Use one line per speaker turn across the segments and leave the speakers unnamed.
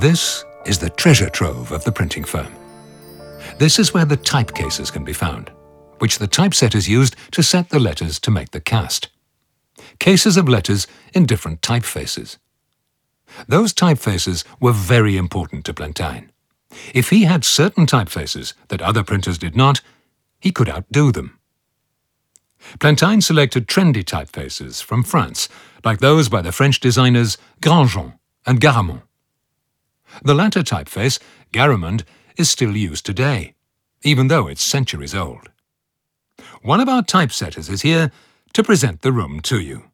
This is the treasure trove of the printing firm. This is where the type cases can be found, which the typesetters used to set the letters to make the cast. Cases of letters in different typefaces. Those typefaces were very important to Plantain. If he had certain typefaces that other printers did not, he could outdo them. Plantain selected trendy typefaces from France, like those by the French designers Grandjean and Garamond. The latter typeface, Garamond, is still used today, even though it's centuries old. One of our typesetters is here to present the room to you.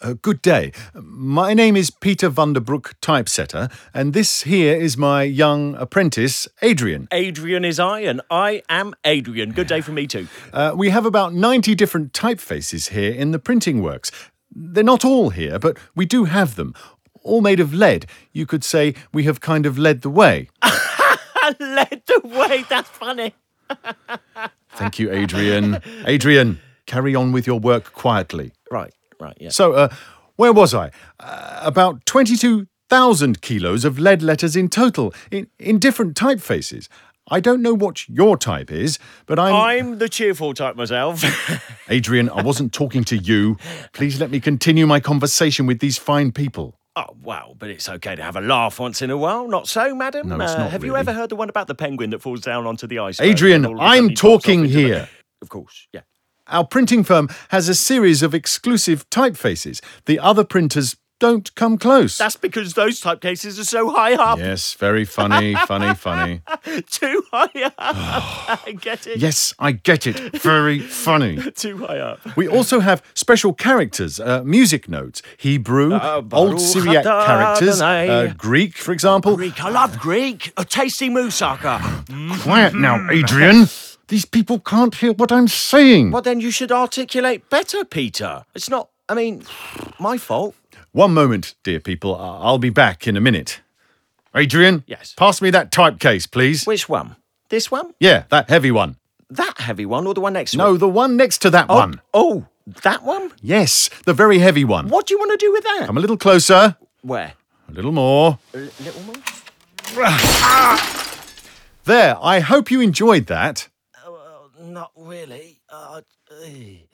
Uh, good day. My name is Peter Vanderbroek, typesetter, and this here is my young apprentice, Adrian.
Adrian is I, and I am Adrian. Good day for me too.
Uh, we have about 90 different typefaces here in the printing works. They're not all here, but we do have them, all made of lead. You could say we have kind of led the way.
I led the way. That's funny.
Thank you, Adrian. Adrian, carry on with your work quietly.
Right, right, yeah.
So, uh, where was I? Uh, about 22,000 kilos of lead letters in total, in, in different typefaces. I don't know what your type is, but I'm.
I'm the cheerful type myself.
Adrian, I wasn't talking to you. Please let me continue my conversation with these fine people.
oh, wow, but it's okay to have a laugh once in a while. Not so, madam? Uh,
No, it's not
have you
really.
ever heard the one about the penguin that falls down onto the ice?
Adrian, I'm talking here.
Of course, yeah.
Our printing firm has a series of exclusive typefaces. The other printers don't come close.
That's because those type cases are so high up.
yes, very funny, funny, funny.
Too high up. I Get it?
Yes, I get it. Very funny.
Too high up.
We also have special characters, uh, music notes, Hebrew, Old
Uh, Baruch
Syriac
atah
characters,
Adonai.
uh, Greek, for example.
Greek. I love Greek. A tasty moussaka.
Quiet now, Adrian. These people can't hear what I'm saying.
Well, then you should articulate better, Peter. It's not, I mean, my fault.
One moment, dear people. I- I'll be back in a minute. Adrian?
Yes.
Pass me that type case, please.
Which one? This one?
Yeah, that heavy one.
That heavy one or the one next to
No,
it?
the one next to that
Oh,
one.
Oh, that one?
Yes, the very heavy one.
What do you want to do with that?
Come a little closer.
Where?
Um, A little more.
A li- little more?
There, I hope you enjoyed that.
Oh, Not really. Uh, eh.